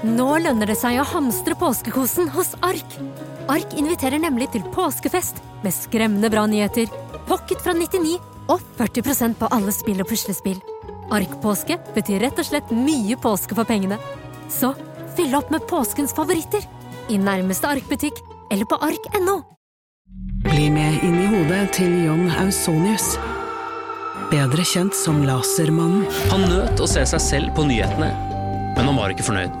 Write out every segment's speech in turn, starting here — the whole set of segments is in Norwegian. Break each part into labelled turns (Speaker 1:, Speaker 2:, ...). Speaker 1: Nå lønner det seg å hamstre påskekosen hos Ark. Ark inviterer nemlig til påskefest med skremmende bra nyheter, pocket fra 99 og 40 på alle spill og puslespill. Ark-påske betyr rett og slett mye påske for pengene. Så fyll opp med påskens favoritter i nærmeste Ark-butikk eller på ark.no.
Speaker 2: Bli med inn i hodet til John Ausonius. Bedre kjent som Lasermannen.
Speaker 3: Han nøt å se seg selv på nyhetene, men han var ikke fornøyd.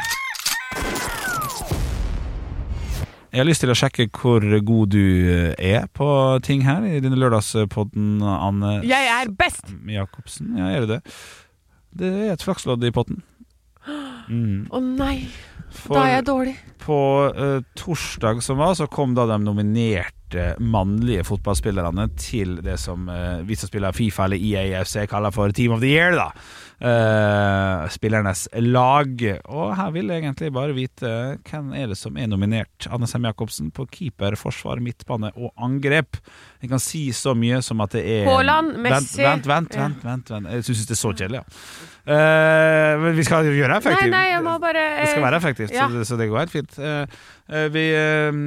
Speaker 4: Jeg har lyst til å sjekke hvor god du eh, er på ting her i denne lørdagspodden, Anne
Speaker 5: Jeg er best!
Speaker 4: Jacobsen. Ja, er det det? Det er et flakslodd i potten. Mm.
Speaker 5: Å nei, da
Speaker 4: For
Speaker 5: er jeg dårlig.
Speaker 4: på eh, torsdag som var, så kom da de nominerte mannlige fotballspillerne til det som eh, vi som spiller Fifa eller E EAFC kaller for Team of the Year, da. Eh, spillernes lag. Og her vil jeg egentlig bare vite hvem er det som er nominert. Anne Sem Jacobsen på keeper, forsvar, midtbane og angrep. Jeg kan si så mye som at det er
Speaker 5: Haaland, Messi.
Speaker 4: Vent, vent, vent.
Speaker 5: Ja.
Speaker 4: vent, vent, vent. Jeg syns det er så kjedelig, ja. Eh, men vi skal gjøre det
Speaker 5: Nei,
Speaker 4: effektivt.
Speaker 5: nei, jeg må bare
Speaker 4: Det skal
Speaker 5: eh,
Speaker 4: være effektivt,
Speaker 5: ja.
Speaker 4: så, det, så det går helt fint. Eh, eh, vi, eh,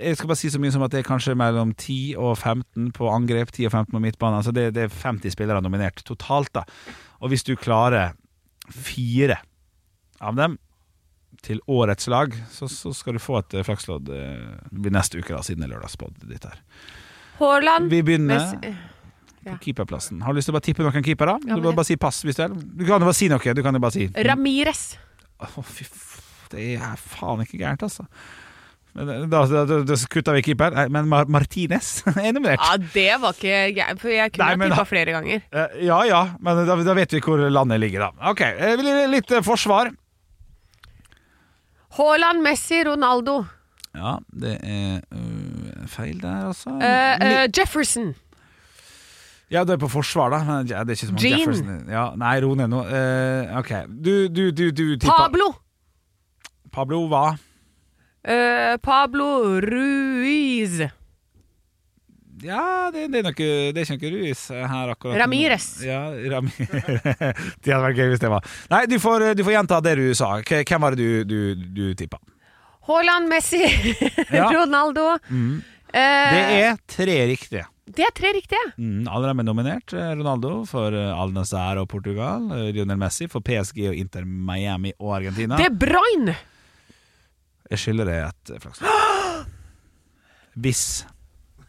Speaker 4: jeg skal bare si så mye som at det er kanskje mellom 10 og 15 på angrep, 10 og 15 på midtbane. Altså det, det er 50 spillere nominert totalt. da Og hvis du klarer fire av dem til årets lag, så, så skal du få et eh, flakslodd eh, det blir neste uke, da siden det er lørdagspodd. ditt her.
Speaker 5: Haaland
Speaker 4: Vi begynner
Speaker 5: Messi.
Speaker 4: på keeperplassen. Har du lyst til å bare tippe noen keepere?
Speaker 5: Ja,
Speaker 4: Du
Speaker 5: men-
Speaker 4: må bare si pass hvis du er Du kan jo bare si noe. Du kan jo bare si
Speaker 5: Ramirez.
Speaker 4: Å, fy f- Det er faen ikke gærent, altså. Men eh, Da, da, da, da kutta vi keeper. Nei, Men Mar Martinez er nominert.
Speaker 5: Ja, det var ikke jeg, for jeg kunne
Speaker 4: Nei,
Speaker 5: ha
Speaker 4: men da-
Speaker 5: tippa flere ganger.
Speaker 4: Eh, Ja ja, men da, da vet vi hvor landet ligger, da. Ok, eh, vi- Litt eh, forsvar.
Speaker 5: Haaland, Messi, Ronaldo.
Speaker 4: Ja, det er øh, feil der, altså.
Speaker 5: Eh,
Speaker 4: Ni-
Speaker 5: eh, Jefferson.
Speaker 4: Ja, du er på forsvar, da. Men ja, det er ikke så mange
Speaker 5: Jean.
Speaker 4: Jefferson- Ja, nei, ro ned nå. Eh, ok, du, du, du, du tippa-
Speaker 5: Pablo.
Speaker 4: Pablo hva?
Speaker 5: Eh, Pablo Ruiz.
Speaker 4: Ja, det, det er noe Det er ikke noe rus her akkurat nå.
Speaker 5: Ramirez.
Speaker 4: Ja, Ram Det hadde vært gøy hvis det var Nei, du får, du får gjenta det du sa K- Hvem var det du, du, du tippa?
Speaker 5: Haaland, Messi,
Speaker 4: Ja. Mm.
Speaker 5: Ronaldo. Eh,
Speaker 4: Det er tre riktige
Speaker 5: det er tre riktige.
Speaker 4: mm, Alle dem er nominert Eh, Ronaldo for eh, Al Nassr og Portugal Eh, Lionel Messi for PSG og Inter Miami og Argentina
Speaker 5: De Bruyne.
Speaker 4: Jeg skylder deg et eh, flaks Hvis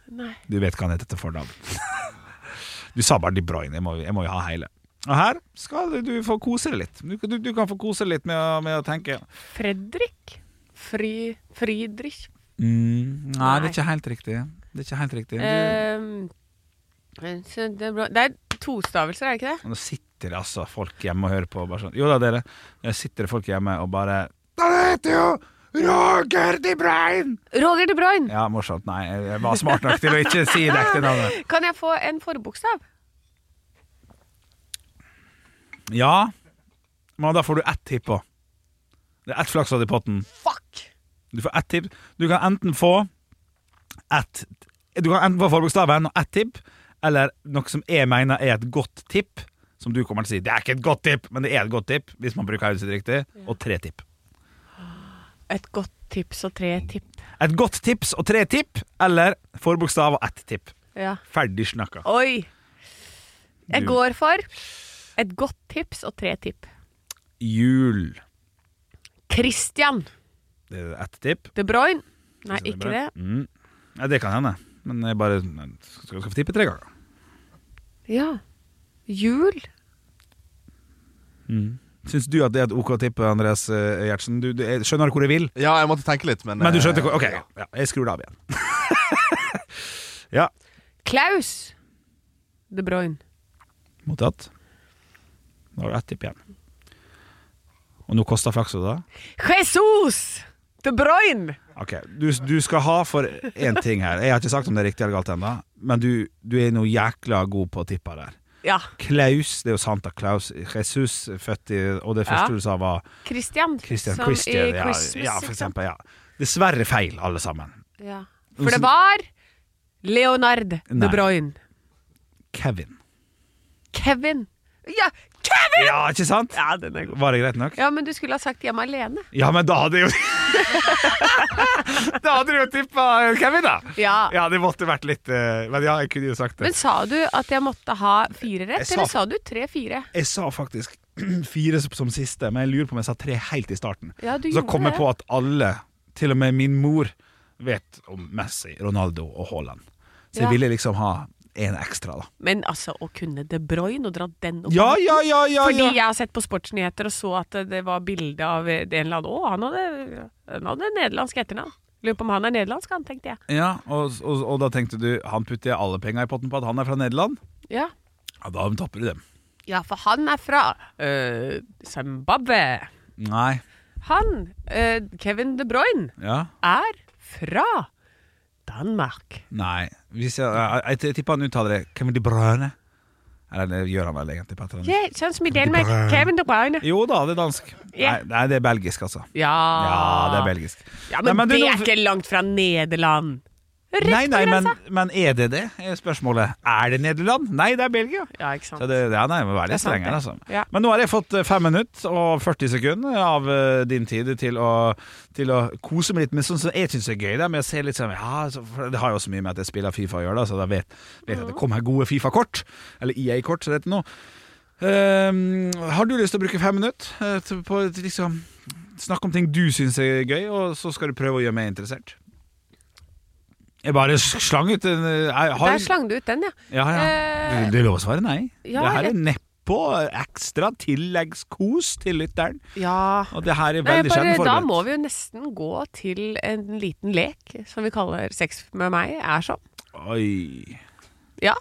Speaker 5: Nei.
Speaker 4: Du vet hva han heter til fornavn. Du sa bare De Bruyne. Jeg må, jeg må jo ha hele. Og her skal du få kose deg litt. Du, du, du kan få kose deg litt med å, med å tenke.
Speaker 5: Fredrik. Fri, Friedrich.
Speaker 4: Mm, nei, det er ikke helt riktig. Det er ikke helt riktig. Du,
Speaker 5: Ehm, eh, så det, er bra. det er tostavelser, er det ikke det?
Speaker 4: nå sitter det altså folk hjemme og hører på. Bare sånn. Jo da, dere. Det sitter det folk hjemme og bare Han heter jo Roger De Bruyne!
Speaker 5: Roger de Bruyne,
Speaker 4: Ja, morsomt. Nei, jeg var smart nok til å ikke si det ekte navnet.
Speaker 5: kan jeg få en forbokstav?
Speaker 4: Ja, men da får du ett tipp på. Det er ett flakslodd i potten.
Speaker 5: Fuck!
Speaker 4: Du får ett tipp. Du kan enten få ett Du kan enten få forbokstaven og ett tipp, eller noe som jeg mener er et godt tipp, som du kommer til å si det er ikke et godt tipp, men det er et godt tipp hvis man bruker hodet sitt riktig, og tre tipp.
Speaker 5: Et godt tips og tre tipp.
Speaker 4: Et godt tips og tre tipp, eller forbokstav og ett tipp.
Speaker 5: Ja.
Speaker 4: Ferdig snakka.
Speaker 5: Oi! Jeg
Speaker 4: Du-
Speaker 5: går for et godt tips og tre tipp.
Speaker 4: Jul.
Speaker 5: Christian
Speaker 4: Det er ett tipp.
Speaker 5: De Bruyne. Nei, ikke det.
Speaker 4: Mm. Ja, det kan hende. Men jeg bare skal, skal få tippe tre ganger.
Speaker 5: Ja. Jul.
Speaker 4: Mm. Syns du at det er et OK tipp, Andreas eh, Gjertsen? Du, du jeg skjønner hvor jeg vil?
Speaker 6: Ja, jeg måtte tenke litt, men
Speaker 4: Men du skjønte
Speaker 6: eh,
Speaker 4: hvor OK, ja. ja, jeg skrur det av igjen. ja.
Speaker 5: Klaus De Bruyne.
Speaker 4: Mottatt. Da har du ett tipp igjen. Og nå koster flaksa, da?
Speaker 5: Jesus De Bruyne!
Speaker 4: Ok, du, du skal ha for én ting her. Jeg har ikke sagt om det er riktig eller galt ennå, men du, du er noe jækla god på å tippe der.
Speaker 5: Ja.
Speaker 4: Klaus, det er jo Santa Claus. Jesus født i Og det
Speaker 5: Ja.
Speaker 4: første du sa, var
Speaker 5: Christian.
Speaker 4: Christian
Speaker 5: som
Speaker 4: Christian.
Speaker 5: i
Speaker 4: Ja,
Speaker 5: Christmas,
Speaker 4: ja,
Speaker 5: ikke
Speaker 4: for
Speaker 5: sant?
Speaker 4: eksempel. Ja. Dessverre feil, alle sammen.
Speaker 5: Ja. For det var Leonard
Speaker 4: Altså- Nei.
Speaker 5: De Bruyne.
Speaker 4: Kevin.
Speaker 5: Kevin. Ja, Kevin!
Speaker 4: Ja, ikke sant?
Speaker 5: Ja, den er god.
Speaker 4: Var det greit nok?
Speaker 5: Ja, men du skulle ha sagt 'hjemme alene'.
Speaker 4: Ja, men da hadde jeg jo Da hadde du jo tippa Kevin, da!
Speaker 5: Ja.
Speaker 4: Ja, det måtte vært litt eh, Men ja, jeg kunne jo sagt det.
Speaker 5: Men sa du at jeg måtte ha fire
Speaker 4: Jeg
Speaker 5: rett,
Speaker 4: sa-
Speaker 5: eller sa du tre-fire?
Speaker 4: Jeg sa faktisk fire som siste, men jeg lurer på om jeg sa tre helt i starten.
Speaker 5: Ja, du
Speaker 4: så
Speaker 5: gjorde
Speaker 4: kom jeg
Speaker 5: det.
Speaker 4: på at alle, til og med min mor, vet om Messi, Ronaldo og Haaland. Så
Speaker 5: Ja.
Speaker 4: jeg ville liksom ha en ekstra, da.
Speaker 5: Men altså, å kunne De Bruyne og dra den opp
Speaker 4: Ja, ja, ja, ja,
Speaker 5: Fordi
Speaker 4: ja.
Speaker 5: jeg har sett på sportsnyheter og så at det var bilde av en eller annen Å, han hadde, han hadde nederlandsk etternavn. Lurer på om han er nederlandsk, han, tenkte jeg.
Speaker 4: Ja, og, og, og da tenkte du han putter jeg alle penga i potten på at han er fra Nederland?
Speaker 5: Ja.
Speaker 4: Ja, da tapper du dem.
Speaker 5: ja, for han er fra øh, Zimbabwe.
Speaker 4: Nei.
Speaker 5: Han, øh, Kevin De Bruyne,
Speaker 4: Ja.
Speaker 5: er fra Danmark.
Speaker 4: Nei. Hvis jeg, jeg, jeg tipper han uttaler det Kevin De Bruyne. Eller det gjør han vel egentlig på et eller annet
Speaker 5: Yeah, sånn som i Danmark. Kevin De Bruyne.
Speaker 4: Jo da, det er dansk.
Speaker 5: Ja.
Speaker 4: Nei, nei, det er belgisk, altså.
Speaker 5: Ja.
Speaker 4: Ja, det er belgisk.
Speaker 5: Ja, men,
Speaker 4: Nei, men du,
Speaker 5: det
Speaker 4: nå-
Speaker 5: er ikke langt fra Nederland. Rett altså.
Speaker 4: nei, nei,
Speaker 5: på
Speaker 4: men,
Speaker 5: grensa.
Speaker 4: men er det det? Er spørsmålet. Er det Nederland? Nei, det er Belgia.
Speaker 5: Ja, ikke sant.
Speaker 4: Så det, ja, nei, må
Speaker 5: Det
Speaker 4: være
Speaker 5: er
Speaker 4: litt
Speaker 5: sant,
Speaker 4: strengere, altså.
Speaker 5: det. Ja.
Speaker 4: Men nå har jeg fått eh, fem minutter og 40 sekunder av eh, din tid til å, til å kose meg litt med sånn som jeg syns er gøy. Det, er med å se litt sånn, ja, så, for det har jo så mye med at jeg spiller Fifa å gjøre, da, så da vet, vet jeg at
Speaker 5: Mm.
Speaker 4: det kommer gode Fifa-kort. Eller EA-kort, som det heter nå. Ehm, har du lyst til å bruke fem minutter eh, til- på å liksom, snakke om ting du syns er gøy, og så skal du prøve å gjøre meg interessert? Jeg bare slang ut en eh, jeg har-
Speaker 5: Der slang du ut den, ja.
Speaker 4: ja, ja.
Speaker 5: Eh,
Speaker 4: Det- Det er lov å svare nei.
Speaker 5: ja,
Speaker 4: det her
Speaker 5: jeg-
Speaker 4: er nedpå ekstra tilleggskos til lytteren.
Speaker 5: Ja.
Speaker 4: Og det her er
Speaker 5: Nei,
Speaker 4: veldig
Speaker 5: bare,
Speaker 4: sjelden
Speaker 5: da
Speaker 4: forberedt.
Speaker 5: må vi jo nesten gå til en liten lek som vi kaller Sex med meg er sånn.
Speaker 4: Oi.
Speaker 5: Ja.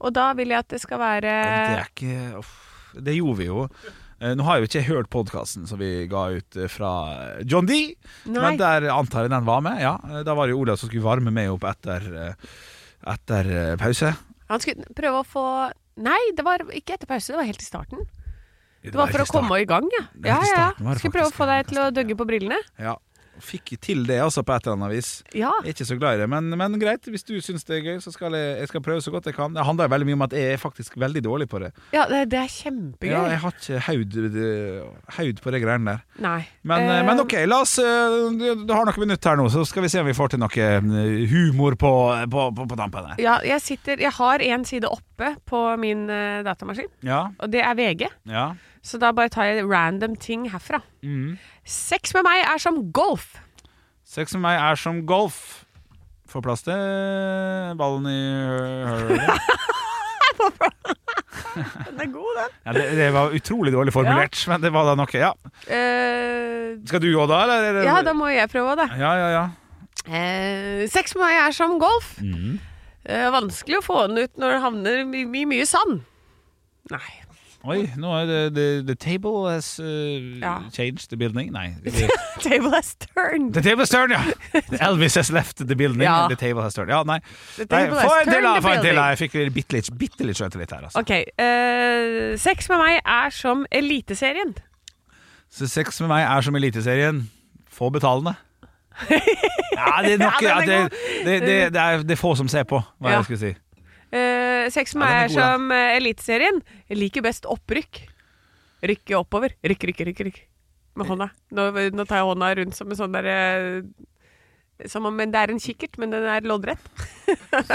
Speaker 5: Og da vil jeg at det skal være
Speaker 4: Det er ikke uff, Det gjorde vi jo. Eh, Nå har jeg jo ikke hørt podkasten som vi ga ut eh, fra John D,
Speaker 5: Nei.
Speaker 4: men der antar jeg den var med. Ja, eh, Da var det jo Olav som skulle varme meg opp etter, eh, etter eh, pause.
Speaker 5: Han skulle prøve å få Nei, det var ikke etter pause, det var helt i starten. Det var
Speaker 4: var
Speaker 5: for å
Speaker 4: helt i
Speaker 5: komme i gang, ja.
Speaker 4: Det
Speaker 5: ja,
Speaker 4: var helt i
Speaker 5: ja, ja.
Speaker 4: starten var det
Speaker 5: Skulle prøve å
Speaker 4: faktisk,
Speaker 5: få deg til å døgge på brillene.
Speaker 4: Ja. Fikk til det, altså, på et eller annet vis.
Speaker 5: Ja.
Speaker 4: Jeg er ikke så glad i det, men, men greit. Hvis du syns det er gøy, så skal jeg, jeg skal prøve så godt jeg kan. Det handler veldig mye om at jeg er faktisk veldig dårlig på det.
Speaker 5: ja det, det er kjempegøy.
Speaker 4: Ja, jeg har ikke haud, haud på de greiene der.
Speaker 5: Nei.
Speaker 4: Men,
Speaker 5: Eh,
Speaker 4: men ok, la oss eh, Du du har noen minutter her nå, så skal vi se om vi får til noe eh, humor på, på, på, på tampen her.
Speaker 5: Ja, jeg sitter Jeg har én side oppe på min eh, datamaskin,
Speaker 4: Ja.
Speaker 5: og det er VG.
Speaker 4: ja.
Speaker 5: Så da bare tar jeg random ting herfra.
Speaker 4: Mhm.
Speaker 5: Sex med meg er som golf.
Speaker 4: Sex med meg er som golf. Får plass til ballen i hølet.
Speaker 5: Den er god, den.
Speaker 4: Ja, det, det var utrolig dårlig formulert, men det var da noe. Ja. Skal du òg da, eller? eller-
Speaker 5: Eh, ja, da må jeg prøve det.
Speaker 4: ja, ja, ja.
Speaker 5: Eh, sex med meg er som golf.
Speaker 4: Mhm.
Speaker 5: Eh, vanskelig å få den ut når det havner i my mye sand. Nei.
Speaker 4: Oi, nå er det The, the table has uh,
Speaker 5: Ja.
Speaker 4: changed the building. Nei.
Speaker 5: Table has turned.
Speaker 4: The table has turned, ja! Elvis has left the building.
Speaker 5: Ja.
Speaker 4: The table has turned. Ja, nei.
Speaker 5: The
Speaker 4: nei
Speaker 5: table
Speaker 4: få
Speaker 5: has
Speaker 4: en til, da!
Speaker 5: turned the
Speaker 4: Få en til, da.
Speaker 5: building.
Speaker 4: Jeg fikk bitte litt, bitte litt sjøltillit her, altså.
Speaker 5: Ok. eh, sex med meg er som Eliteserien.
Speaker 4: Så sex med meg er som Eliteserien. Få betalende. Ja, det er nok
Speaker 5: Ja,
Speaker 4: ja,
Speaker 5: den
Speaker 4: det,
Speaker 5: er Mm.
Speaker 4: det, det, det, er, det er få som ser på, hva
Speaker 5: Ja.
Speaker 4: jeg skulle si.
Speaker 5: Eh, sex med meg
Speaker 4: Ja, den er
Speaker 5: er
Speaker 4: god, da.
Speaker 5: som eh, Eliteserien. Jeg liker best opprykk. Rykke oppover. Rykk, rykk, rykk. rykk. Med hånda. Nå, nå tar jeg hånda rundt som en sånn derre Som om det er en kikkert, men den er loddrett.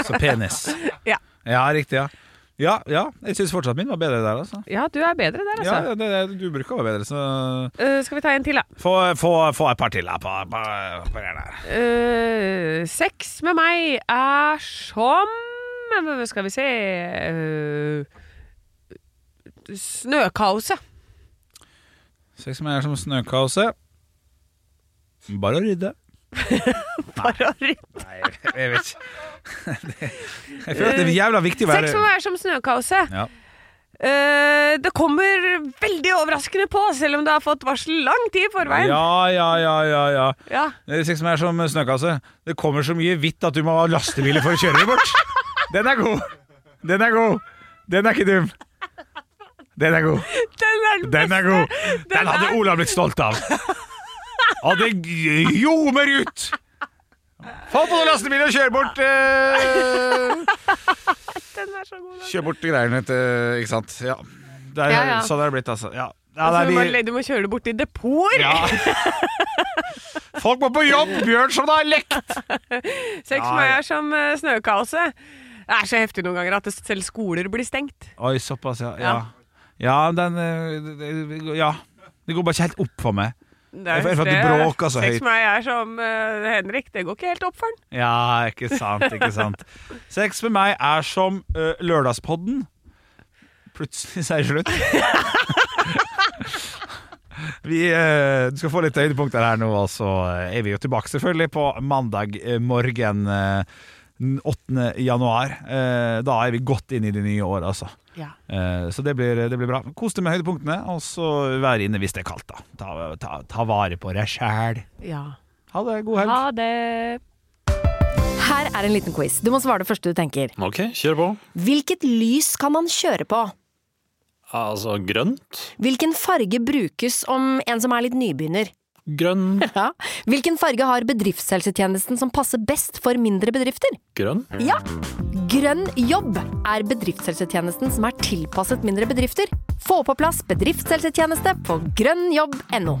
Speaker 4: Så penis.
Speaker 5: Ja.
Speaker 4: Ja, riktig, ja. Ja, ja. jeg syns fortsatt min var bedre der, altså.
Speaker 5: ja, du er bedre der, altså.
Speaker 4: Ja, det, det, du bruker å være bedre, så
Speaker 5: Eh, skal vi ta en til, da?
Speaker 4: Få, få, få et par til her på, på, på det der.
Speaker 5: Eh, sex med meg er som Skal vi se eh, Snøkaoset.
Speaker 4: Sex med meg er som snøkaoset. Bare å rydde.
Speaker 5: Bare å rydde.
Speaker 4: Nei, jeg- jeg vet ikke. Det- Jeg føler at det er jævla viktig å være
Speaker 5: Sex med meg er som snøkaoset.
Speaker 4: Ja.
Speaker 5: Eh, det kommer veldig overraskende på, selv om du har fått varsel lang tid i forveien.
Speaker 4: Ja, ja, ja, ja, ja.
Speaker 5: Ja.
Speaker 4: Det er Sex med meg er som snøkasse. Det kommer så mye hvitt at du må ha lastebiler for å kjøre det bort. Den er god. Den er god. Den er ikke dum. Den er god.
Speaker 5: Den er den
Speaker 4: Den er god.
Speaker 5: beste.
Speaker 4: Den hadde
Speaker 5: er-
Speaker 4: Olav blitt stolt av. Og det ljomer ut! Få på noen lastebiler og kjør bort eh,
Speaker 5: Den er så god. da.
Speaker 4: Kjør bort greiene til Ikke sant. Ja. Det er,
Speaker 5: Ja, ja.
Speaker 4: Sånn er det blitt, altså. Ja. Ja,
Speaker 5: Altså, du, må,
Speaker 4: nei, vi-
Speaker 5: le- du må kjøre det bort til depoter.
Speaker 4: Ja. Folk må på jobb! Bjørn som det har lekt!
Speaker 5: Sex
Speaker 4: Ja,
Speaker 5: med meg
Speaker 4: ja.
Speaker 5: er som eh, snøkaoset. Det er så heftig noen ganger at det, selv skoler blir stengt.
Speaker 4: Oi, såpass, ja. Ja, ja den eh, det- det- Ja. Det går bare ikke helt opp for meg.
Speaker 5: Det
Speaker 4: Det er for at du
Speaker 5: det-
Speaker 4: bråker så høyt.
Speaker 5: Sex med meg er som eh, Henrik. Det går ikke helt opp for han.
Speaker 4: Ja, ikke sant, ikke sant. Sex med meg er som ø, lørdagspodden. Plutselig sier slutt. Vi ø, du skal få litt høydepunkter her nå, og så er vi jo tilbake selvfølgelig på mandag ø, morgen ø, den 8. januar. Eh, da er vi godt inn i det nye året, altså.
Speaker 5: Ja.
Speaker 4: Eh, så det blir, det blir bra. Kos deg med høydepunktene, og så vær inne hvis det er kaldt, da. Ta, ta, ta vare på deg sjæl.
Speaker 5: ja.
Speaker 4: Ha det, god helg.
Speaker 5: Ha det.
Speaker 6: Her er en liten quiz. Du må svare det første du tenker.
Speaker 7: Ok, kjør på.
Speaker 6: Hvilket lys kan man kjøre på?
Speaker 7: Altså grønt?
Speaker 6: Hvilken farge brukes om en som er litt nybegynner?
Speaker 7: Grønn.
Speaker 6: Ja. Hvilken farge har bedriftshelsetjenesten som passer best for mindre bedrifter?
Speaker 7: Grønn?
Speaker 6: Ja! Grønn jobb er bedriftshelsetjenesten som er tilpasset mindre bedrifter. Få på plass bedriftshelsetjeneste på grønnjobb.no.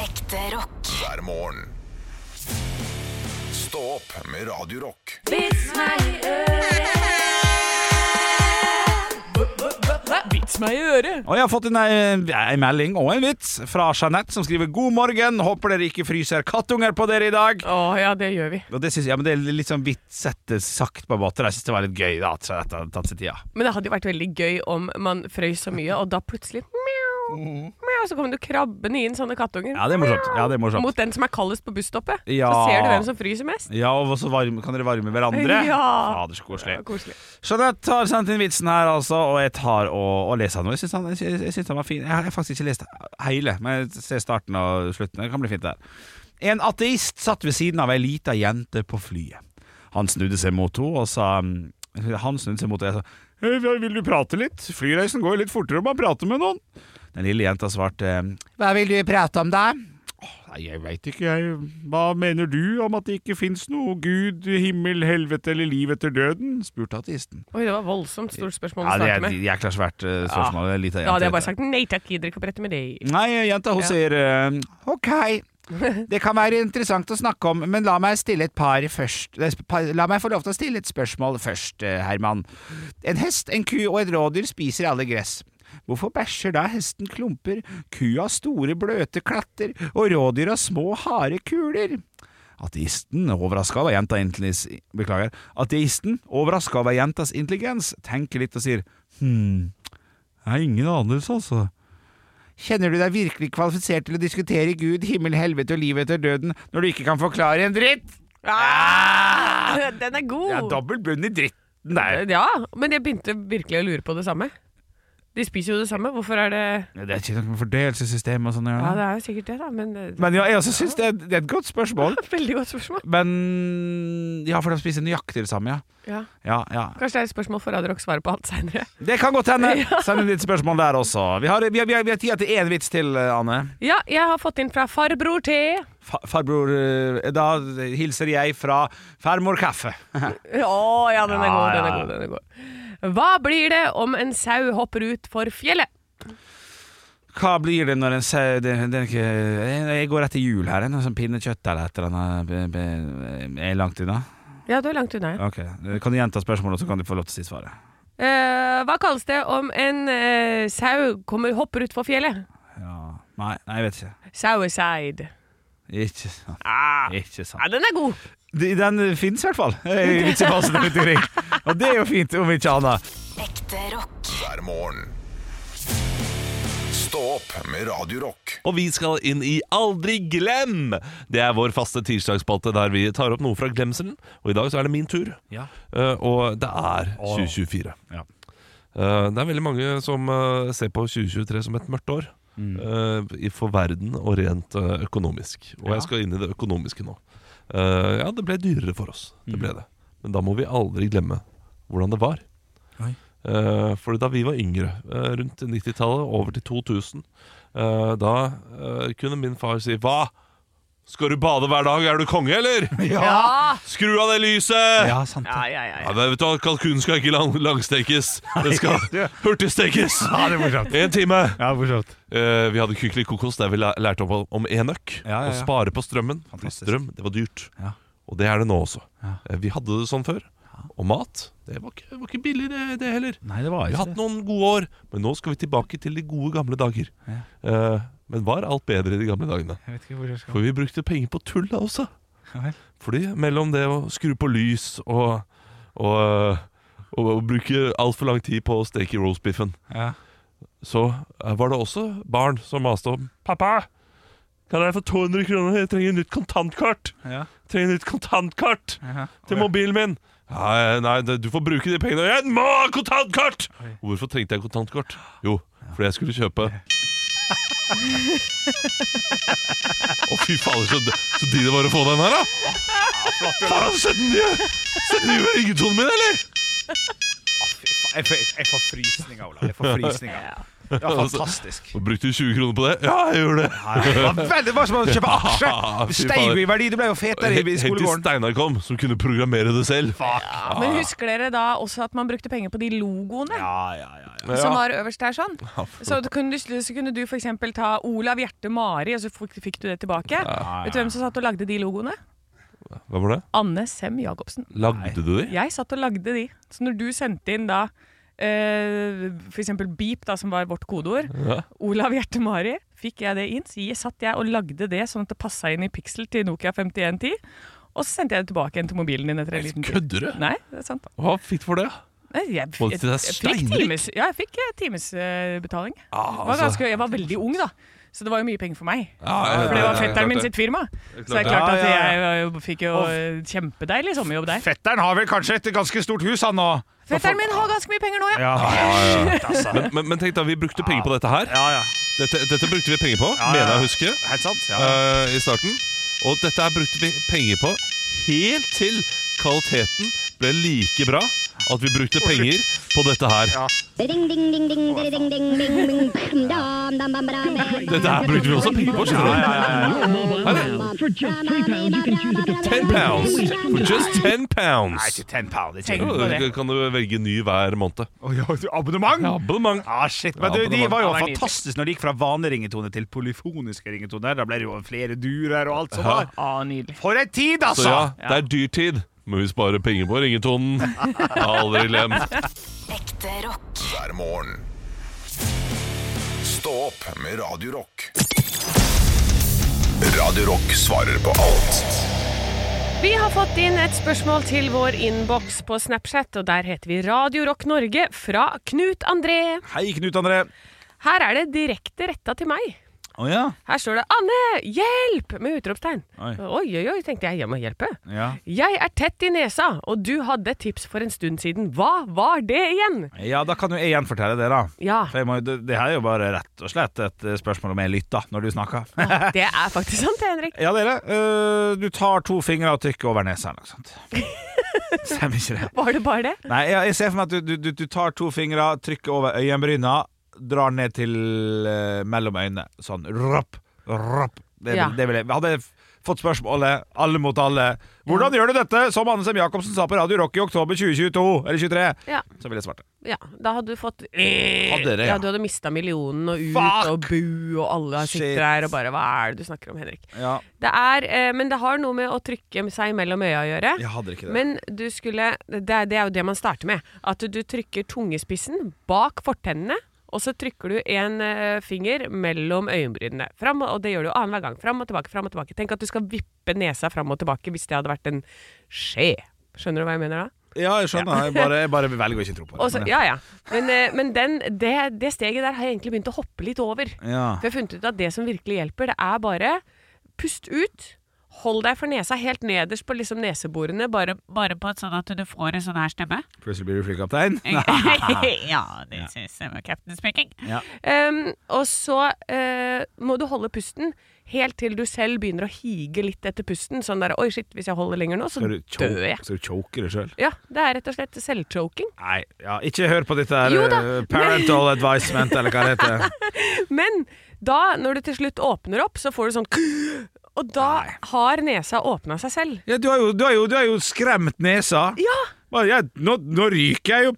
Speaker 8: Ekte rock. Hver morgen. Stå opp med Radio Rock.
Speaker 9: Vits meg i øret. Vits meg i øret.
Speaker 4: Og jeg har fått en, eh, en melding og en vits fra Jeanette, som skriver 'God morgen, håper dere ikke fryser kattunger på dere i dag'.
Speaker 5: Å, ja, det gjør vi.
Speaker 4: Og det, synes, jeg- ja, men det er litt sånn vitsete sagt, på en måte. Jeg syns det var litt gøy da, at Jeanette hadde tatt seg tida.
Speaker 5: Men det hadde jo vært veldig gøy om man frøys så mye, og da plutselig mjau, mjau, så kommer du krabbende inn sånne kattunger.
Speaker 4: Ja, det er morsomt. Ja, det er morsomt.
Speaker 5: Mot den som er kaldest på busstoppet.
Speaker 4: Ja.
Speaker 5: Så ser du hvem som fryser mest.
Speaker 4: Ja, og så varm, kan dere varme hverandre.
Speaker 5: Ja.
Speaker 4: Fader, så koselig. Jeanette har sendt inn vitsen her, altså, og jeg tar og, og leser den. Og Jeg syns han- jeg syns- jeg syns den var fin. Jeg har faktisk ikke lest hele, men jeg ser starten og slutten. Det kan bli fint, det her. En ateist satt ved siden av ei lita jente på flyet. Han snudde seg mot henne og sa mm, Han snudde seg mot henne og sa «Hei, Vil du prate litt? Flyreisen går jo litt fortere om man prater med noen. Den lille jenta svarte Hva vil du prate om da? Nei, jeg veit ikke, jeg. Hva mener du om at det ikke fins noe Gud, himmel, helvete eller liv etter døden? spurte ateisten.
Speaker 5: Oi, det var voldsomt stort spørsmål
Speaker 4: Ja,
Speaker 5: å
Speaker 4: det
Speaker 5: starte
Speaker 4: er
Speaker 5: med.
Speaker 4: et jækla svært eh, spørsmål. Det er litt
Speaker 5: Da
Speaker 4: av
Speaker 5: hadde
Speaker 4: jente,
Speaker 5: jeg bare
Speaker 4: dette.
Speaker 5: sagt nei takk, gidder ikke å brette med deg.
Speaker 4: Nei, jenta, hun
Speaker 5: Ja.
Speaker 4: sier eh, Ok, det kan være interessant å snakke om, men la meg stille et par først eh, sp- par- La meg få lov til å stille et spørsmål først, eh, Herman. En hest, en ku og et rådyr spiser alle gress. Hvorfor bæsjer da hesten klumper, kua store bløte klatter og rådyra små harde kuler? Ateisten, overraska over jenta intelligens Beklager. Ateisten, overraska over jentas intelligens, tenker litt og sier hm, jeg har ingen anelse, altså. Kjenner du deg virkelig kvalifisert til å diskutere Gud, himmel, helvete og livet etter døden når du ikke kan forklare en dritt?
Speaker 5: Ah, den er god!
Speaker 4: Det er dobbel bunn i dritten der.
Speaker 5: Ja, men jeg begynte virkelig å lure på det samme. De spiser jo det samme. Hvorfor er det
Speaker 4: Det er ikke noe fordelelsessystem og sånn.
Speaker 5: Ja, det er jo sikkert det, da, men det-
Speaker 4: Men ja, jeg også syns det, er- det er et godt spørsmål.
Speaker 5: Veldig godt spørsmål.
Speaker 4: Men Ja, for de spiser nøyaktig det samme, ja.
Speaker 5: Ja.
Speaker 4: Ja, ja.
Speaker 5: Kanskje det er et spørsmål for Adrock svarer på alt seinere.
Speaker 4: Det kan godt hende. Send inn ditt spørsmål der også. Vi har, vi har, vi har, vi har tida til én vits til, eh, Anne.
Speaker 5: Ja, jeg har fått inn fra farbror T.
Speaker 4: Fa, farbror eh, Da hilser jeg fra farmor Kaffe.
Speaker 5: Å ja, den er god, den er
Speaker 4: Ja, ja.
Speaker 5: god, den er god. Hva blir det om en sau hopper ut for fjellet?
Speaker 4: Hva blir det når en sau det, det er ikke, eh, Jeg går etter jul her. Noe sånn pinnekjøtt eller et eller annet. be- be- Er jeg langt unna?
Speaker 5: Ja, du er langt unna. ja.
Speaker 4: Ok, eh, Kan du gjenta spørsmålet, så kan du få lov til å si svaret?
Speaker 5: Eh, hva kalles det om en eh, sau kommer, hopper ut for fjellet?
Speaker 4: Nei, nei, jeg vet ikke.
Speaker 5: Saueside.
Speaker 4: Ikke sant. Ikke sant.
Speaker 5: Ah. Ja, den er god.
Speaker 4: De- Den finnes i hvert fall. i vitsebasen rundt omkring. Og det er jo fint, om ikke annet.
Speaker 8: Ekte rock. Hver morgen. Stå opp med Radio Rock.
Speaker 10: Og vi skal inn i Aldri glem! Det er vår faste tirsdagsspalte der vi tar opp noe fra glemselen. Og i dag så er det min tur.
Speaker 4: Ja.
Speaker 10: Eh, og det er 2024. Eh, det er veldig mange som eh, ser på 2023 som et mørkt år.
Speaker 11: Mm.
Speaker 10: eh, i- for verden og rent eh, økonomisk. Og
Speaker 7: Ja.
Speaker 10: jeg skal inn i det økonomiske nå. Eh, ja, det ble dyrere for oss. Det ble det. Men da må vi aldri glemme hvordan det var. Eh, Fordi da vi var yngre, eh, rundt 90-tallet, over til 2000, eh, da eh, kunne min far si Hva? Skal du bade hver dag? Er du konge, eller?
Speaker 5: Ja.
Speaker 10: Skru av det lyset!
Speaker 4: Ja, sant
Speaker 5: Ja, ja, ja.
Speaker 10: Ja, men vet du, hva, Kalkunen skal ikke lang langstekes. Den skal hurtigstekes!
Speaker 4: Ja, det er morsomt.
Speaker 10: En time!
Speaker 4: Ja, morsomt.
Speaker 10: Eh, vi hadde Kykelikokos der vi læ- lærte om, om enøk.
Speaker 4: Ja, ja, ja.
Speaker 10: Å spare på strømmen. Fordi Strøm, det var dyrt. Og det er det nå også. Eh, vi hadde det sånn før. Og mat, det var ikke, det var ikke billig, det, det heller.
Speaker 4: Nei, det var
Speaker 10: vi
Speaker 4: ikke
Speaker 10: har hatt
Speaker 4: det.
Speaker 10: noen gode år, men nå skal vi tilbake til de gode, gamle dager. Eh, men var alt bedre i de gamle dagene?
Speaker 4: Jeg vet ikke hvor jeg skal.
Speaker 10: For vi brukte penger på tull da også. Fordi mellom det å skru på lys og, og, eh, og, og bruke altfor lang tid på å steke roastbiffen,
Speaker 4: Ja.
Speaker 10: så eh, var det også barn som maste om Pappa! Kan jeg få 200 kroner? Jeg trenger nytt kontantkort!
Speaker 4: Ja.
Speaker 10: Trenger nytt kontantkort til mobilen min! Nei, nei, det- du får bruke de pengene. Jeg må ha kontantkort! Hvorfor trengte jeg kontantkort? Jo, fordi jeg skulle kjøpe Å, fy fader, så, så digg det var å få den her, da! Faen, sett den nye! Sett den nye ringetonen min, eller?
Speaker 4: Jeg får, jeg får frysninger, Ola. Jeg får frysninger. Det var fantastisk.
Speaker 10: Og brukte Altså, du 20 kroner på det? Ja, jeg gjorde det!
Speaker 4: Det var, veldig, det var som å kjøpe aksjer!
Speaker 10: Ja, fy
Speaker 4: Det steg jo i
Speaker 10: fader.
Speaker 4: verdi, du ble jo fetere i
Speaker 10: Helt- Helt til
Speaker 4: skolegården.
Speaker 10: Steinar kom, som kunne programmere det selv.
Speaker 4: Ja.
Speaker 5: Men husker dere da også at man brukte penger på de logoene?
Speaker 10: ja.
Speaker 5: Som
Speaker 10: Ja.
Speaker 5: var øverst der sånn. Så du kunne, du- så kunne du for eksempel ta Olav Hjerte Mari, og så fikk fikk du det tilbake.
Speaker 10: Ja.
Speaker 5: Vet du hvem som satt og lagde de logoene?
Speaker 10: Hva var det?
Speaker 5: Anne Sem Jacobsen.
Speaker 10: Lagde du de?
Speaker 5: Jeg satt og lagde de. Så når du sendte inn da eh, for eksempel beep, da, som var vårt kodeord,
Speaker 10: Ja.
Speaker 5: Olav Hjerte Mari, fikk jeg det inn. Så jeg satt jeg og lagde det sånn at det passa inn i pixel til Nokia 5110. Og så sendte jeg det tilbake igjen til mobilen din etter en liten tid.
Speaker 10: Kødder du?
Speaker 5: Nei, det er sant.
Speaker 10: Hva fikk du for det?
Speaker 5: Nei, Jeg,
Speaker 10: Var det
Speaker 5: jeg,
Speaker 10: til deg
Speaker 5: jeg fikk
Speaker 10: steinrik?
Speaker 5: times, ja, jeg fikk timesbetaling.
Speaker 10: Ah, altså.
Speaker 5: ganske, jeg var veldig ung da, så det var jo mye penger for meg.
Speaker 10: Ja, ja, ja,
Speaker 5: for det var
Speaker 10: ja, ja, klart
Speaker 5: fetteren min
Speaker 10: det.
Speaker 5: sitt firma.
Speaker 10: Det er klart
Speaker 5: Så det er
Speaker 10: det.
Speaker 5: klart at
Speaker 4: Ja, ja, ja.
Speaker 5: jeg var jo- fikk jo eh, kjempedeilig sommerjobb der.
Speaker 4: Fetteren har vel kanskje et ganske stort hus, han nå?
Speaker 5: Fetteren min har ganske mye penger nå, ja.
Speaker 4: Shit, altså.
Speaker 10: Men, men, men tenk da, vi brukte penger på dette her. Dette, dette brukte vi penger på,
Speaker 4: Ja, ja.
Speaker 10: mener jeg å huske,
Speaker 4: Helt sant, ja.
Speaker 10: eh, i starten. Og dette her brukte vi penger på helt til kvaliteten ble like bra at vi brukte penger på dette her.
Speaker 12: Ding, ding, ding, ding, ding, ding, ding, ding, ding, dum, dam, dam, bam, bam, bam.
Speaker 10: Dette her brukte vi også penger på. skjønner du?
Speaker 12: For just three pounds, you can choose a
Speaker 10: 10 pounds. For just 10 pounds.
Speaker 4: Nei, ikke 10 pound. Det er
Speaker 10: Jo,
Speaker 4: ikke-
Speaker 10: da kan du velge ny hver måned.
Speaker 4: Å, ja, du, abonnement?
Speaker 10: Ja, abonnement.
Speaker 4: Ah, shit, men du,
Speaker 10: Ja,
Speaker 4: De
Speaker 10: abonnement.
Speaker 4: var jo
Speaker 10: Ja, det er nydelig.
Speaker 4: fantastiske når de gikk fra vanlige ringetone til polyfoniske ringetoner. Da ble det jo flere durer og alt som
Speaker 10: Ja.
Speaker 4: var.
Speaker 5: nydelig.
Speaker 4: For en tid, altså!
Speaker 10: Så ja, det er dyrtid, men vi sparer penger på ringetonen. Aldri glem.
Speaker 8: Ekte rock. Hver morgen. Stå opp med Radio Rock. Radio Rock svarer på alt.
Speaker 5: Vi har fått inn et spørsmål til vår innboks på Snapchat, og der heter vi Radio Rock Norge fra Knut André.
Speaker 4: Hei, Knut André.
Speaker 5: Her er det direkte retta til meg.
Speaker 4: Å ja.
Speaker 5: Her står det 'Anne, hjelp!' med utropstegn.
Speaker 4: Oi.
Speaker 5: Oi, oi, oi, tenkte jeg. Jeg må hjelpe.
Speaker 4: ja.
Speaker 5: Jeg er tett i nesa, og du hadde et tips for en stund siden. Hva var det igjen?
Speaker 4: Ja, da kan jo jeg gjenfortelle det, da.
Speaker 5: Ja.
Speaker 4: For jeg må, jo- det, det her er jo bare rett og slett et eh, spørsmål om jeg lytter når du snakker.
Speaker 5: Det er faktisk sant, Henrik.
Speaker 4: ja, dere. eh, du tar to fingre og trykker over nesa eller noe sånt. Stemmer ikke det?
Speaker 5: Var det bare det?
Speaker 4: Nei, jeg, jeg ser for meg at du, du, du, du tar to fingre, trykker over øyenbryna, drar ned til eh, mellom øynene. Sånn. Rapp, rapp. Det, vil-
Speaker 5: Ja.
Speaker 4: det vil jeg. Hadde jeg f- fått spørsmålet, alle mot alle, hvordan gjør du dette, som Anne Sem Jacobsen sa på Radio Rock i oktober 2022, eller 23,
Speaker 5: Ja.
Speaker 4: så ville jeg svart det.
Speaker 5: Ja, da hadde du fått
Speaker 4: Hadde det,
Speaker 5: ja.
Speaker 4: ja.
Speaker 5: Du hadde mista millionen og ut
Speaker 4: Fuck!
Speaker 5: og bu, og alle
Speaker 4: Shit.
Speaker 5: sitter her og bare Hva er det du snakker om, Henrik?
Speaker 4: Ja.
Speaker 5: Det er, eh, men det har noe med å trykke seg mellom øya å gjøre.
Speaker 4: Jeg hadde ikke det.
Speaker 5: Men du skulle det, er- det er jo det man starter med. At du trykker tungespissen bak fortennene. Og så trykker du en eh, finger mellom øyenbrynene. Fram, og det gjør du annenhver gang. Fram og tilbake, fram og tilbake. Tenk at du skal vippe nesa fram og tilbake hvis det hadde vært en skje. Skjønner du hva jeg mener da?
Speaker 4: Ja, jeg skjønner. Jeg, bare, jeg bare velger å ikke tro på det.
Speaker 5: Og så-
Speaker 4: Men-
Speaker 5: ja, ja. Men, eh, men den, det, det steget der har jeg egentlig begynt å hoppe litt over.
Speaker 4: Ja.
Speaker 5: For jeg har funnet ut at det som virkelig hjelper, det er bare pust ut. Hold deg for nesa helt nederst på liksom neseborene, bare, bare på et sånn at du får en sånn her stemme.
Speaker 4: Plutselig blir du flykaptein.
Speaker 5: ja, det syns jeg var captain speaking.
Speaker 4: Ja.
Speaker 5: Um, og så eh, må du holde pusten helt til du selv begynner å hige litt etter pusten. Sånn der 'oi, shit, hvis jeg holder lenger nå, så
Speaker 4: Skal du
Speaker 5: dør
Speaker 4: choke,
Speaker 5: jeg'.
Speaker 4: skal du choke deg sjøl?
Speaker 5: Ja, det er rett og slett selvchoking.
Speaker 4: Nei, ja, ikke hør på dette her
Speaker 5: Jo da,
Speaker 4: eh, parental advisement, eller hva det heter.
Speaker 5: Men da, når du til slutt åpner opp, så får du sånn Og da har nesa åpna seg selv.
Speaker 4: Ja, du har jo, du har jo, du har jo skremt nesa.
Speaker 5: Ja.
Speaker 4: Bare, jeg, nå, nå ryker jeg jo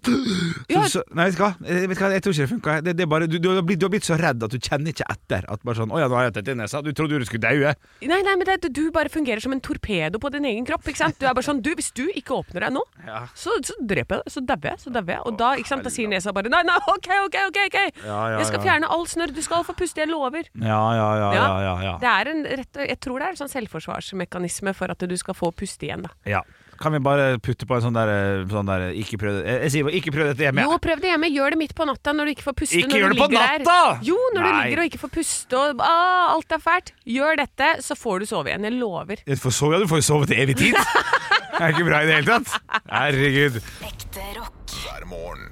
Speaker 4: så, så, Nei, vet du hva? Eh, Vet du hva? Jeg tror ikke det funka. Det, det er bare, du, du, har blitt, du har blitt så redd at du kjenner ikke etter. At bare sånn, 'Å ja, nå har jeg tett i nesa.' Du trodde du skulle daue.
Speaker 5: Nei, nei, men det, er- Du bare fungerer som en torpedo på din egen kropp. ikke sant? Du er bare sånn, du, Hvis du ikke åpner deg nå,
Speaker 4: Ja.
Speaker 5: så, så dreper jeg deg. Så dauer jeg. så dauer jeg. Og da ikke sant, da sier nesa bare nei, nei, OK, OK, OK. ok.
Speaker 4: Ja, ja,
Speaker 5: jeg skal
Speaker 4: ja.
Speaker 5: fjerne all snørr. Du skal få puste, jeg lover.
Speaker 4: Ja, ja, ja. ja, ja, ja.
Speaker 5: Det er en rett, og- Jeg tror det er en sånn selvforsvarsmekanisme for at du skal få puste igjen. da.
Speaker 4: ja. Kan vi bare putte på en sånn der, eh, sånn der eh, ikke prøv, jeg, jeg sier bare 'ikke prøv dette hjemme'.
Speaker 5: Jo, prøv det hjemme. Gjør det midt på natta når du ikke får puste.
Speaker 4: Ikke
Speaker 5: når
Speaker 4: gjør
Speaker 5: du
Speaker 4: det på
Speaker 5: ligger der.
Speaker 4: natta!
Speaker 5: Jo, når du
Speaker 4: Nei.
Speaker 5: ligger og ikke får puste og ah, alt er fælt. Gjør dette, så får du sove igjen. Jeg lover.
Speaker 4: Du får sove, ja, du får jo sove til evig tid. Det er ikke bra i det hele tatt. Herregud.
Speaker 8: Hver morgen.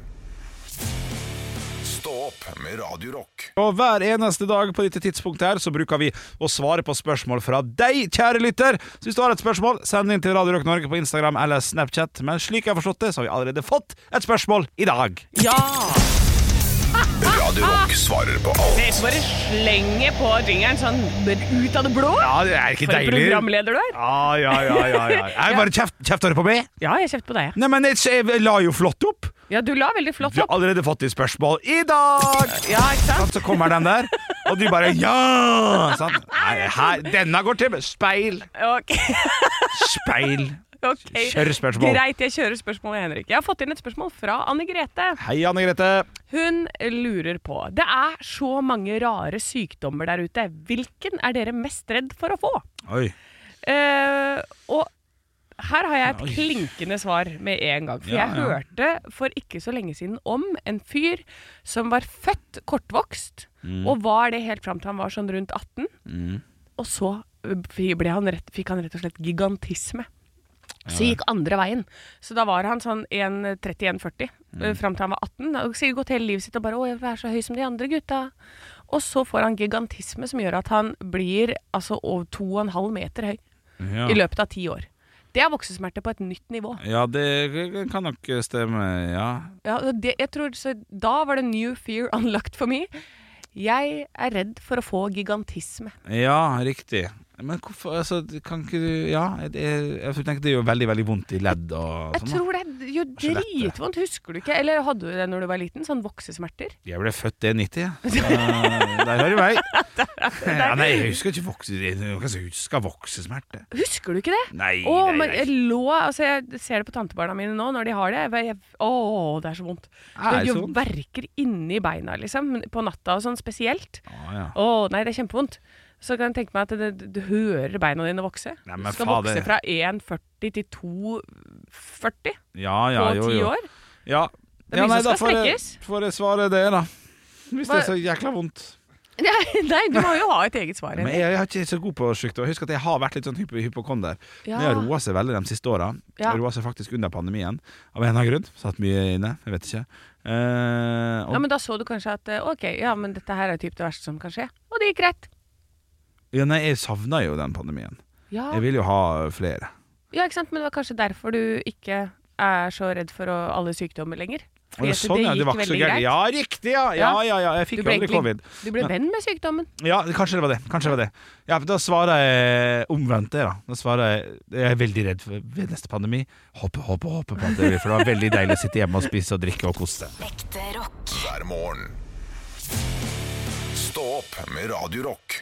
Speaker 8: Stå opp med Radio Rock.
Speaker 4: Og hver eneste dag på dette tidspunktet her så bruker vi å svare på spørsmål fra deg, kjære lytter. Så hvis du har et spørsmål, send det inn til Radio Rock Norge på Instagram eller Snapchat. Men slik jeg har forstått det, så har vi allerede fått et spørsmål i dag.
Speaker 5: Ja!
Speaker 8: Radio Rock svarer på alt.
Speaker 5: Dere bare slenger på jingeren sånn ut av det blå.
Speaker 4: Ja, det er ikke
Speaker 5: For en
Speaker 4: deilig.
Speaker 5: programleder du er.
Speaker 4: Ja, ja, ja. ja, ja. Jeg bare kjeft, kjefter du på meg?
Speaker 5: Ja, jeg kjefter på deg.
Speaker 4: Nei, men jeg, jeg la jo flott opp.
Speaker 5: Ja, du la veldig flott
Speaker 4: Vi har
Speaker 5: opp.
Speaker 4: allerede fått et spørsmål i dag!
Speaker 5: Ja, ikke sant?
Speaker 4: Så kommer den der, og du bare ja! Sant? Nei, her, denne går til speil.
Speaker 5: Ok.
Speaker 4: Speil.
Speaker 5: Ok.
Speaker 4: Kjør spørsmål.
Speaker 5: Greit, jeg kjører spørsmål, Henrik. Jeg har fått inn et spørsmål fra Anne Grete.
Speaker 4: Hei, Anne Grete.
Speaker 5: Hun lurer på Det er så mange rare sykdommer der ute. Hvilken er dere mest redd for å få?
Speaker 4: Oi.
Speaker 5: Eh, og her har jeg et klinkende svar med en gang. For
Speaker 4: Ja,
Speaker 5: jeg
Speaker 4: ja.
Speaker 5: hørte for ikke så lenge siden om en fyr som var født kortvokst,
Speaker 4: Mm.
Speaker 5: og var det helt fram til han var sånn rundt 18.
Speaker 4: Mm.
Speaker 5: Og så eh, ble han rett, fikk han rett og slett gigantisme. Så
Speaker 4: Ja.
Speaker 5: gikk andre veien. Så da var han sånn 1,31-40 mm. fram til han var 18. Og sikkert gått hele livet sitt og bare 'Å, jeg vil være så høy som de andre gutta'. Og så får han gigantisme som gjør at han blir altså over 2,5 meter høy
Speaker 4: Ja.
Speaker 5: i løpet av ti år. Det er voksesmerter på et nytt nivå.
Speaker 4: Ja, det kan nok stemme, ja.
Speaker 5: Ja, og det, jeg tror, så da var det new fear unlocked for me. Jeg er redd for å få gigantisme.
Speaker 4: Ja, riktig. Men hvorfor altså, Kan ikke du Ja, jeg, jeg, jeg tenker det gjør veldig, veldig vondt i ledd og
Speaker 5: Jeg
Speaker 4: sånn. da.
Speaker 5: tror det gjør dritvondt. Husker du ikke? Eller hadde du det når du var liten? Sånn voksesmerter?
Speaker 4: Jeg ble født i 90, jeg. Eh, Der har du meg. Ja, nei, jeg husker ikke vokse, jeg husker voksesmerte.
Speaker 5: Husker du ikke det?
Speaker 4: Nei,
Speaker 5: Å,
Speaker 4: nei,
Speaker 5: men
Speaker 4: nei.
Speaker 5: jeg lå Altså, jeg ser det på tantebarna mine nå når de har det. Jeg, jeg, å, det er så vondt.
Speaker 4: Er
Speaker 5: Det
Speaker 4: det
Speaker 5: gjør
Speaker 4: så vondt?
Speaker 5: verker inni beina, liksom. men På natta og sånn spesielt.
Speaker 4: Å, ja.
Speaker 5: Å, nei, det er kjempevondt. Så kan jeg tenke meg at det, det, du hører beina dine vokse.
Speaker 4: Nei,
Speaker 5: Du
Speaker 4: men
Speaker 5: skal
Speaker 4: fader.
Speaker 5: vokse fra 1,40 til 2,40
Speaker 4: Ja, ja,
Speaker 5: på
Speaker 4: jo,
Speaker 5: ti
Speaker 4: jo.
Speaker 5: år.
Speaker 4: Ja.
Speaker 5: Det er mye som
Speaker 4: da
Speaker 5: skal
Speaker 4: får jeg-
Speaker 5: strekkes.
Speaker 4: får jeg svare det, da. Hvis det er
Speaker 5: Hva-
Speaker 4: så jækla vondt.
Speaker 5: Nei, nei, du må jo ha et eget svar.
Speaker 4: Men jeg, jeg er ikke så god på sykdom. Husk at jeg har vært litt sånn hypo hypokonder.
Speaker 5: Ja.
Speaker 4: Men Jeg har roa seg veldig de siste åra.
Speaker 5: Ja.
Speaker 4: Roa seg faktisk under pandemien, av en eller annen grunn. Satt mye inne, jeg vet ikke. Eh, og,
Speaker 5: Ja, men da så du kanskje at eh, ok, ja, men dette her er typ det verste som kan skje. Og det gikk greit.
Speaker 4: ja, nei, jeg savna jo den pandemien.
Speaker 5: Ja.
Speaker 4: Jeg vil jo ha flere.
Speaker 5: ja, ikke sant? Men det var kanskje derfor du ikke er så redd for å, alle sykdommer lenger.
Speaker 4: Og
Speaker 5: Fordi
Speaker 4: det, er
Speaker 5: at
Speaker 4: sånn, ja, det var ikke så gærent. Ja, riktig, ja! Ja, ja, ja. Jeg
Speaker 5: Du
Speaker 4: fikk jo
Speaker 5: ble
Speaker 4: aldri
Speaker 5: egentlig-
Speaker 4: covid.
Speaker 5: Du ble
Speaker 4: Men-
Speaker 5: venn med sykdommen.
Speaker 4: Ja, kanskje det var det. Kanskje det var det. Ja, for da svarer jeg omvendt det, da. Da svarer jeg jeg er veldig redd for ved neste pandemi. Håper, håper, håper på at det blir, for det var veldig deilig å sitte hjemme og spise og drikke og kose seg.
Speaker 8: Hver morgen. Stå opp med Radio Rock.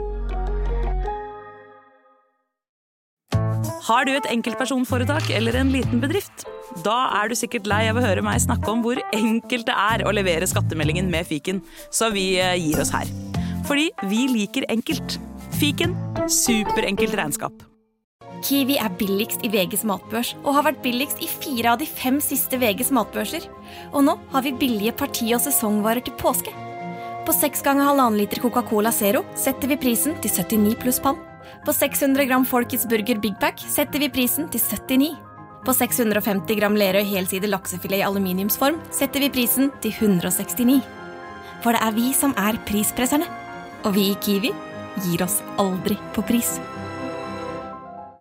Speaker 13: Har du et enkeltpersonforetak eller en liten bedrift? Da er du sikkert lei av å høre meg snakke om hvor enkelt det er å levere skattemeldingen med fiken, så vi eh, gir oss her. Fordi vi liker enkelt. Fiken superenkelt regnskap.
Speaker 14: Kiwi er billigst i VGs matbørs og har vært billigst i fire av de fem siste VGs matbørser. Og nå har vi billige parti- og sesongvarer til påske. På 6 ganger halvannen liter Coca-Cola Zero setter vi prisen til 79 pluss pann. På 600 gram Folkets Burger Big Pack setter vi prisen til 79. På 650 gram Lerøy helside laksefilet i aluminiumsform setter vi prisen til 169. For det er vi som er prispresserne. Og vi i Kiwi gir oss aldri på pris.